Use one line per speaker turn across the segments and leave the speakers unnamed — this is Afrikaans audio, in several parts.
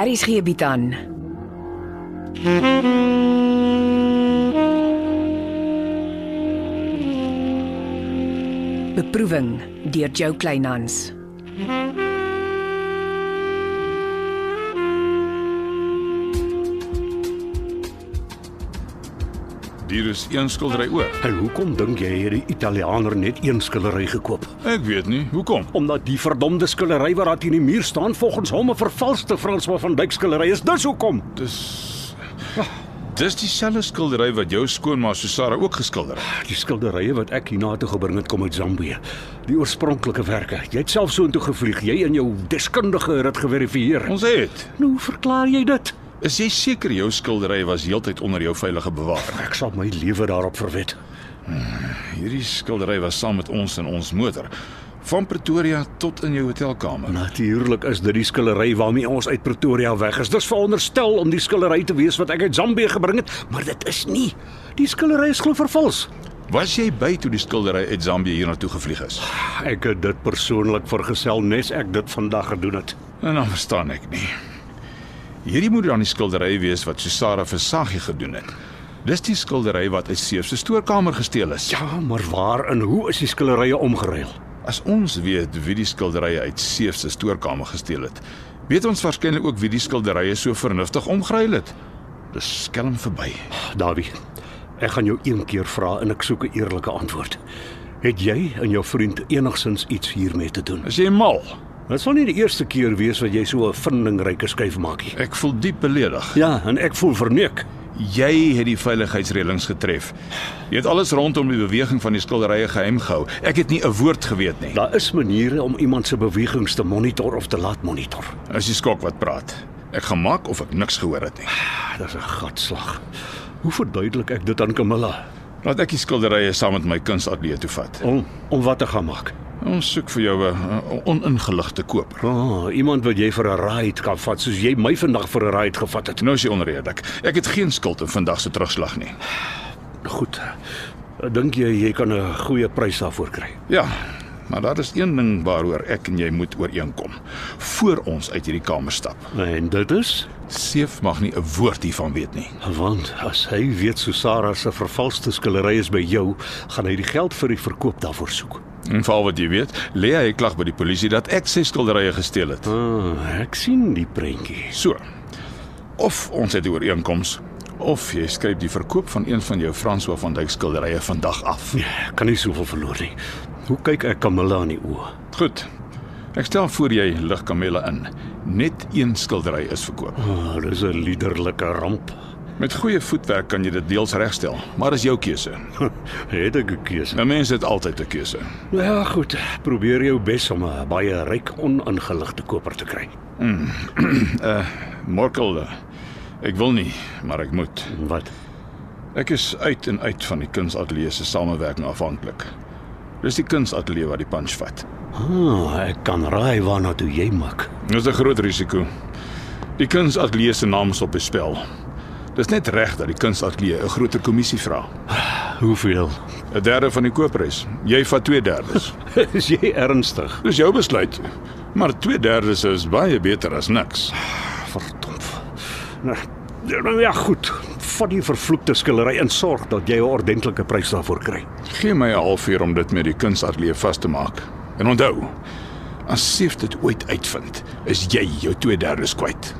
Aries gee bied aan. Beproeving deur Jo Kleinhans.
Hier is een skildery ook.
En hoekom dink jy het die Italiaaner net een skillery gekoop?
Ek weet nie, hoekom?
Omdat die verdomde skillery wat daar teen die muur staan volgens hom 'n vervalste Franswa van Dyk skillery is. Dis hoekom.
Dis Dis dieselfde skildery wat jou skoonma Susara ook geskilder het.
Die skilderye wat ek hiernatoe gebring het kom uit Zambië. Die oorspronklike werke. Jy het self soontoe gevlieg. Jy en jou deskundige het dit geverifieer.
Ons het.
Nou hoe verklaar jy dit?
Is jy seker jou skildery was heeltyd onder jou veilige bewaring?
Ek sal my lewe daarop verwed.
Hierdie skildery was saam met ons in ons motor van Pretoria tot in jou hotelkamer.
Natuurlik is dit die skillery waarmee ons uit Pretoria weg is. Dis veronderstel om die skillery te wees wat ek uit Zambië gebring het, maar dit is nie. Die skillery is glo vervals.
Was jy by toe die skildery uit Zambië hiernatoe gevlieg is?
Ek het dit persoonlik vergesel nes ek dit vandag gedoen het.
En dan Nou, verstaan ek nie. Hierdie moet dan die skildery wees wat Susara vir Saggie gedoen het. Dis die skildery wat uit Seef se stoorkamer gesteel is.
Ja, maar waar en hoe is die skillerye omgeruil?
As ons weet wie die skilderye uit Seef se stoorkamer gesteel het, weet ons waarskynlik ook wie die skilderye so vernuftig omgeruil het. Dis skelm verby.
Dawie, ek gaan jou een keer vra en ek soek 'n eerlike antwoord. Het jy en jou vriend enigsins iets hiermee te doen?
As jy mal,
Dit sal nie die eerste keer wees wat jy so 'n vindingryke skuif maak nie.
ek voel diep beledig.
Ja, en ek voel verneuk.
Jy het die veiligheidsreëlings getref. Jy het alles rondom die beweging van die skilderye geheim gehou. Ek het nie 'n woord geweet nie.
Daar is maniere om iemand se bewegings te monitor of te laat monitor.
As jy skok wat praat. Ek gemaak of ek niks gehoor het nie.
Dit is 'n gatslag. Hoe verduidelik ek dit aan Camilla?
Laat ek die skilderye saam met my kunsatelier toe vat.
Om om wat te gaan maak?
Ons soek vir jou 'n 'n oningeligte koper.
Ah, iemand wat jy vir 'n ride kan vat, soos jy my vandag vir 'n ride gevat het.
Nou is jy onredelik. Ek het geen skuld in vandag se terugslag nie.
Goed. Dink jy jy kan 'n goeie prys daarvoor kry?
Ja, maar daar is een ding waaroor ek en jy moet ooreenkom voor ons uit hierdie kamer stap.
En dit is
Seef mag nie 'n woord hiervan weet nie.
want as hy weet Susara se vervalste skillery is by jou, gaan hy die geld vir die verkoop daarvoor soek.
En veral wat jy weet, lê hy 'n klag by die polisie dat ek sy skilderye gesteel het.
Ah, ek sien die prentjie.
So. Of ons het 'n ooreenkoms of jy skryf die verkoop van een van jou François van Dyk skilderye vandag af.
Nee, ek kan nie soveel verloor nie. Hoe kyk ek Camilla in die oë?
Goed. Ek stel voor jy lig Kamela in. Net een skildery is verkoop.
Ah, dis 'n liderlike ramp.
Met goeie voetwerk kan jy dit deels regstel, maar dis jou keuse.
Het ek 'n keuse.
'n Mens het altyd 'n keuse.
Ja, goed. Probeer jou bes om 'n baie ryk, onaangeligte koper te kry.
Morkel. eh, Ek wil nie, maar ek moet.
Wat?
Ek is uit en uit van die kunsatelier se samewerking afhanklik. Dis die kunsatelier wat die punch vat.
Ah, ek kan raai waarna toe jy mik.
Dis 'n groot risiko. Die kunsatelier se naam is op die spel. Dis net reg dat die kunsatelier 'n groter kommissie vra.
Hoeveel?
'n Derde van die koopprys. Jy vat 2/3.
Is jy ernstig?
Dis jou besluit. Maar 2/3 is baie beter as niks.
Verdomp. Nou, nou ja, goed. Vat die vervloekte skillery en sorg dat jy 'n ordentlike prys daarvoor kry.
Gee my 'n halfuur om dit met die kunsatelier vas te maak. En onthou, as Seef dit ooit uitvind, is jy jou 2/3 kwyt.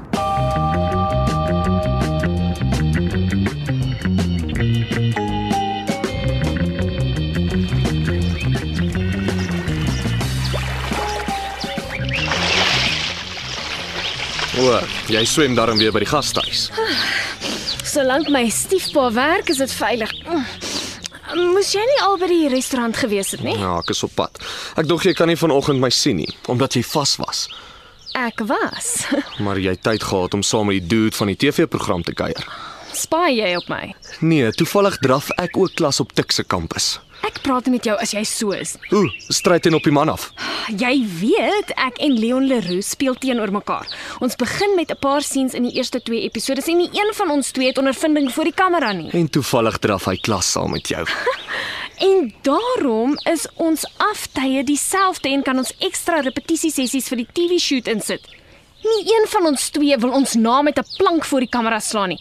O, jy swem darm weer by die gastehuis.
Solank my stiefpa werk, is dit veilig. Mm. Moes jy nie al by die restaurant gewees het nie?
Ja, ek is op pad. Ek dink jy kan nie vanoggend my sien nie, omdat jy vas was.
Ek was.
Maar jy het tyd gehad om saam met die dude van die TV-program te kuier.
Spaai jy op my?
Nee, toevallig draf ek ook klas op Tik se kampus.
Ek praat nie met jou as jy so is.
Ooh, stryd en op die man af.
Jy weet, ek en Leon Leroux speel teenoor mekaar. Ons begin met 'n paar scenes in die eerste 2 episode en nie een van ons twee het ondervinding voor die kamera nie.
En toevallig draf hy klas saam met jou.
En daarom is ons aftye dieselfde en kan ons ekstra repetisie sessies vir die TV shoot insit. Nie een van ons twee wil ons naam met 'n plank voor die kamera slaan nie.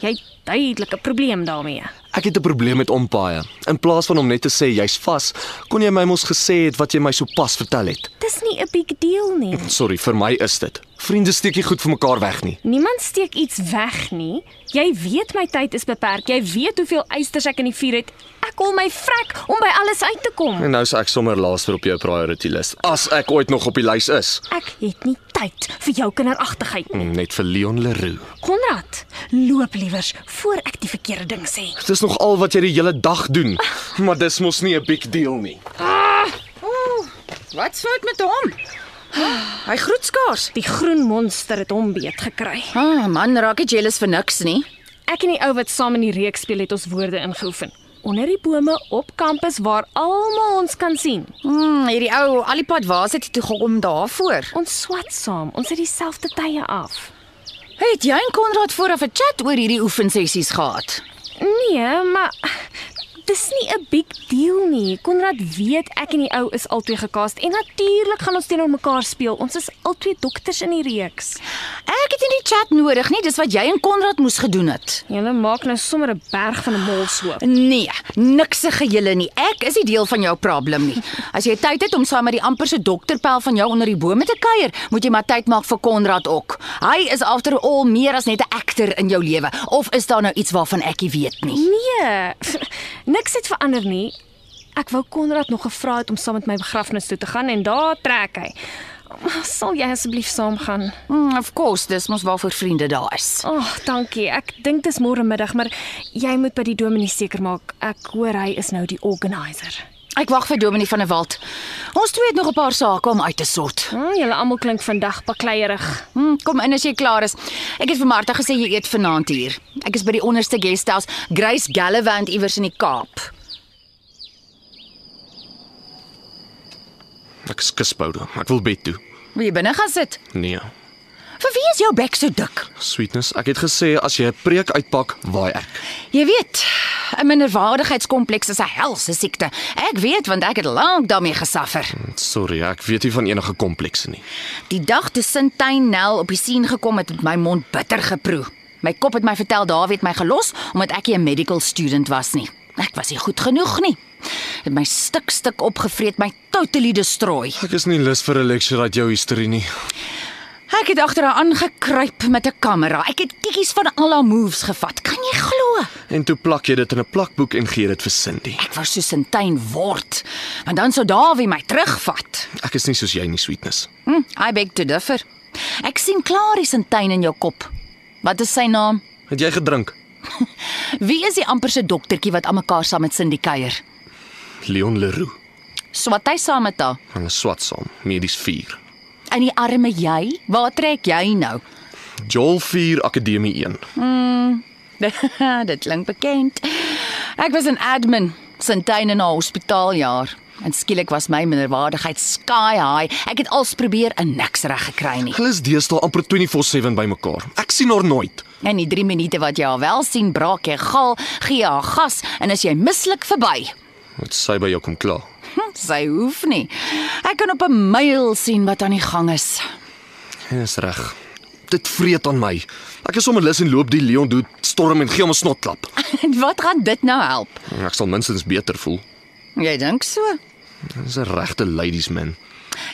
Jy het duidelik 'n probleem daarmee.
Ek het 'n probleem met ompaaie. In plaas van om net te sê jy's vas, kon jy my mos gesê het wat jy my sopas vertel het.
Dis nie 'n big deal nie.
Sorry, vir my is dit. Vriende steek nie goed vir mekaar weg nie.
Niemand steek iets weg nie. Jy weet my tyd is beperk. Jy weet hoeveel eisters ek in die vuur het. Ek hol my vrek om by alles uit te kom.
En nou is ek sommer laas vir op jou priority lys. As ek ooit nog op die lys is,
Ek het nie tyd vir jou kinderagtigheid nie.
Mm, net vir Leon Leroux.
Konrad, loop liewers voor ek die verkeerde ding sê.
Dis nog al wat jy die hele dag doen, maar dis mos nie 'n big deal nie.
Ooh, wat's fout met hom? Hy groet skaars.
Die groen monster het hom beet gekry.
Ah, man, raak jy jealous vir niks nie?
Ek en die ou wat saam in die reek speel het ons woorde ingeoefen. Onder die bome op kampus waar almal ons kan sien.
Hmm, hierdie ou al die pad waar sit hy toe gekom daarvoor?
Ons swat saam, ons het dieselfde tye af.
Het jy en Konrad vooraf 'n chat oor hierdie oefensessies gehad?
Nee, maar dis nie 'n big deal nie. Konrad weet ek en die ou is albei gekast en natuurlik gaan ons teenoor mekaar speel. Ons is albei dokters in die reeks.
Ek het nie die chat nodig nie, dis wat jy en Konrad moes gedoen het.
Julle maak nou sommer 'n berg van 'n molshoop.
Nee, niksige julle nie. Ek is nie deel van jou probleem nie. As jy tyd het om saam met die amper se dokterpel van jou onder die bome te kuier, moet jy maar tyd maak vir Konrad ook. Hy is after all meer as net 'n akter in jou lewe. Of is daar nou iets waarvan ek nie weet nie?
Nee, niks het verander nie. Ek wou Konrad nog gevra het om saam met my begrafnis toe te gaan en daar trek hy. Oh, Sal jy asseblief saamgaan?
Mm, of course, dis mos waarvoor vriende daar is.
Ag, oh, dankie. Ek dink dis môre middag, maar jy moet by die dominee seker maak. Ek hoor hy is nou die organiser.
Ek wag vir Dominie van der Walt. Ons twee het nog 'n paar sake om uit te sort.
Hm, julle almal klink vandag bakleierig.
Mm, kom in as jy klaar is. Ek het vir Martha gesê jy eet vanaand hier. Ek is by die onderste guesthouse, Grace Gallivant iewers in die Kaap.
Ek is kuspoude. Ek wil bed toe.
Wil jy binne gaan sit?
Nee.
Vir wie is jou bek so dik?
Sweetness, ek het gesê as jy 'n preek uitpak, waai ek.
Jy weet, 'n minderwaardigheidskompleks is 'n helse siekte. Ek weet want ek het lank daarmee gesuffer.
Sorry, ek weet nie van enige komplekse nie.
Die dag toe Sintyn Nel op die sien gekom het, het my mond bitter geproe. My kop het my vertel Dawie het my gelos omdat ek nie 'n medical student was nie. Ek was nie goed genoeg nie. Het my stuk stuk opgevreet, my totally destroy.
Ek is nie lus vir 'n lecture uit jou historie nie.
Ek het agter haar aangekruip met 'n kamera. Ek het kikkies van al haar moves gevat. Kan jy glo?
En toe plak jy dit in 'n plakboek en gee dit vir Cindy.
Ek wou so Sintyn word, want dan sou Dawie my terugvat.
Ek is nie soos jy nie, Sweetness.
Hm, I beg to differ. Ek sien klaar die Sintyn in jou kop. Wat is sy naam?
Het jy gedrink?
Wie is die amper se doktertjie wat aan mekaar saam met Cindy kuier?
Leon Leroux.
Swat hy saam met haar.
Hulle swat saam, medies 4.
En die arme jy, waar trek jy nou?
Joel 4 Akademie 1.
Dit klink bekend. Ek was in admin Sintyn in haar hospitaaljaar. En skielik was my minderwaardigheid sky high. Ek het als probeer en niks reg gekry nie.
Hulle is deesdae amper 24/7 bymekaar. Ek sien haar nooit.
In die 3 minute wat jy haar wel sien, braak jy gal, gee haar gas en as jy mislik verby.
Moet sy by jou kom kla.
Hm, Sy hoef nie. Ek kan op 'n myl sien wat aan die gang is.
Jy is reg. Dit vreet aan my. Ek is sommer lus en loop die Leon doet storm en gee hom 'n snotklap.
En wat gaan dit nou help?
En Ek sal minstens beter voel.
Jy dink so?
Dis 'n regte ladies man.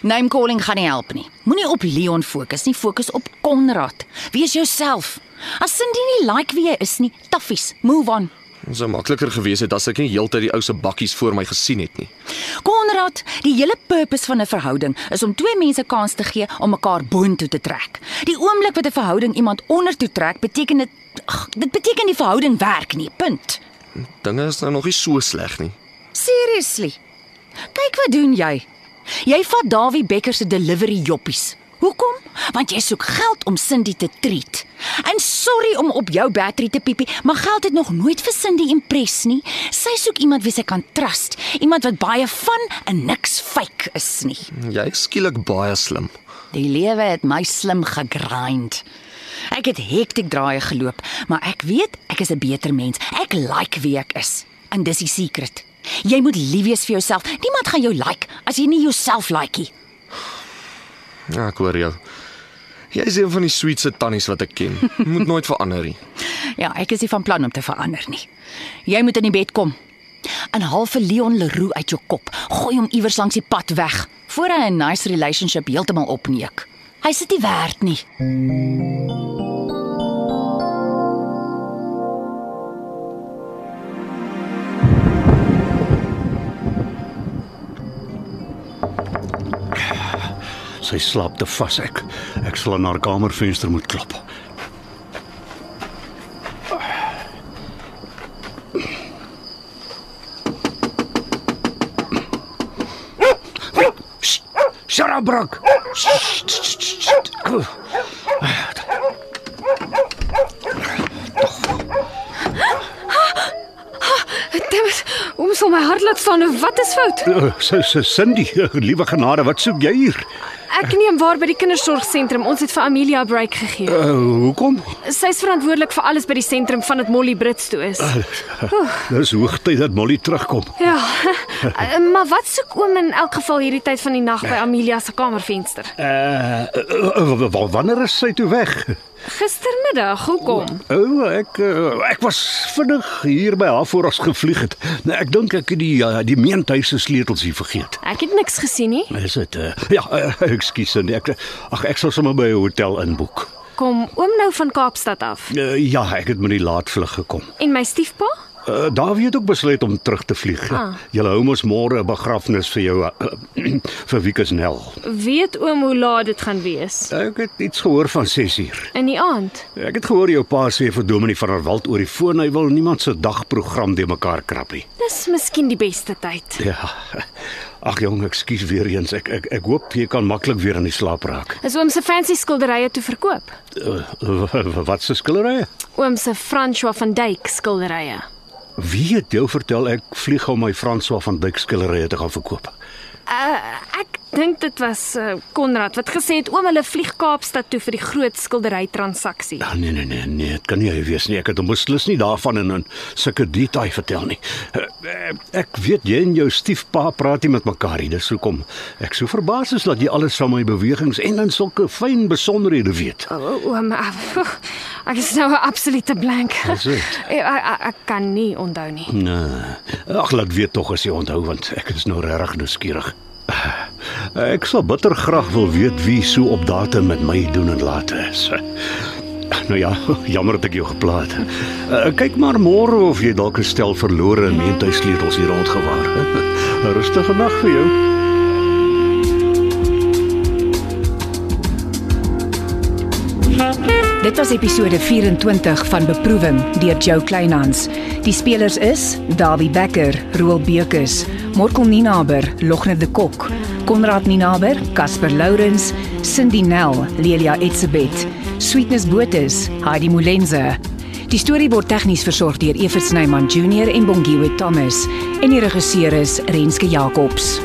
Name calling gaan nie help nie. Moenie op Leon fokus nie, fokus op Konrad. Wees jouself. As Cindy nie like wie jy is nie, taffies, move on.
Dit sou makliker gewees het as ek nie heeltyd die ou se bakkies voor my gesien het nie.
Konrad, die hele purpose van 'n verhouding is om twee mense kans te gee om mekaar boontoe te trek. Die oomblik wat 'n verhouding iemand ondertoe trek, beteken dit ag, dit beteken die verhouding werk nie. Punt.
Dinge is nou nog nie so sleg nie.
Seriously. Kyk wat doen jy? Jy vat Dawie Becker se delivery joppies. Hoekom? Want jy soek geld om Cindy te treat. En sorry om op jou battery te piepie, maar geld het nog nooit vir Cindy impress nie. Sy soek iemand wie sy kan trust, iemand wat baie van en niks fake is nie.
Jy is skielik baie slim.
Die lewe het my slim gegrind. Ek het hektiek draaie geloop, maar ek weet ek is 'n beter mens. Ek like wie ek is. En dis die secret. Jy moet lief wees vir jouself. Niemand gaan jou like as jy nie jouself like nie.
Ja, ek hoor jou. Jy is een van die sweetste tannies wat ek ken. Moet nooit verander nie.
Ja, ek is nie van plan om te verander nie. Jy moet in die bed kom. En haal vir Leon Leroux uit jou kop. Gooi hom iewers langs die pad weg voor hy 'n nice relationship heeltemal opneek. Hy sit nie werd nie.
Sy slaap te vas ek. Ek sal aan haar kamervenster moet klop. Sst, Sarah Brock. Sst, sst, sst, sst. Kom.
Dit om sal my hart laat staan. Wat is fout?
Eh, Sy sy Cindy, eh, liewe genade, wat soek jy hier?
Ek neem waar by die kindersorgsentrum. Ons het vir Amelia 'n break gegee.
Uh, hoekom?
Sy's verantwoordelik vir alles by die sentrum van dit Molly Brits toe is.
Dis hoogtyd dat Molly terugkom.
Ja. Eh, maar wat soek oom in elk geval hierdie tyd van die nag by Amelia se kamervenster?
Uh, uh, uh, wanneer is sy toe weg?
Gistermiddag, hoekom?
O, oh, ek uh, ek was vinnig hier by haar voor ons gevlieg het. Nou ek dink ek het die uh, die meentuis se sleutels hier vergeet.
Ek het niks gesien nie.
Is dit uh, ja, uh, ekskuus nee, ek ag ek sal sommer by 'n hotel inboek.
Kom oom nou van Kaapstad af.
Uh, ja, ek het met die laat vlug gekom.
En my stiefpa?
Uh, Dawie het ook besluit om terug te vlieg. Ah. Julle hou mos môre 'n begrafnis vir jou uh, vir Wikus Nel.
Weet oom hoe laat dit gaan wees?
Ek het iets gehoor van 6 uur.
In die aand.
Ek het gehoor jou pa sê vir Dominie van der Walt oor die foon hy wil niemand se dagprogram de mekaar krap nie.
Dis miskien die beste tyd.
Ja. Ag jong, ekskuus weer eens. Ek ek ek hoop jy kan maklik weer in die slaap raak.
Is oom se fancy skilderye toe verkoop?
Uh, w- wat se skilderye?
Oom se François van Dyk skilderye.
Wie het jou vertel ek vlieg om my François van Dyk skilderye te gaan verkoop?
Uh, ek dink dit was uh, Konrad wat gesê het oom hulle vlieg Kaapstad toe vir die groot skildery transaksie.
Ah, nee nee nee nee, dit kan nie hy wees nie. Ek het hom beslis nie daarvan in in sulke detail vertel nie. Uh, uh, ek weet jy en jou stiefpa praat nie met mekaar nie. Dis hoekom ek so verbaas is dat jy alles van my bewegings en in sulke fyn besonderhede weet.
O, o, Oom, uh, ek is nou 'n absolute blank. Eh,
Dis dit.
Ek, ek, ek kan nie onthou nie.
Nee. Ag laat weet tog as jy onthou want ek is nou regtig nuuskierig. Ek sal bitter graag wil weet wie so op datum met my doen en laat is. Nou ja, jammer dat ek jou geplaat. Uh, kyk maar môre of jy dalk 'n stel verlore meentuisleutels hier rondgewaar. 'n Rustige nag vir jou.
Dit was episode 24 van Beproewing deur Jo Kleinhans. Die spelers is Dawie Becker, Roel Bekus, Morkel Ninaber, Logner de Kok, Konrad Ninaber, Casper Lourens, Cindy Nel, Lelia Etsebet, Sweetness Botha, Heidi Molenze. Die storie word tegnies versorg deur Evert Snyman Junior en Bongwe Thomas en die regisseur is Renske Jacobs.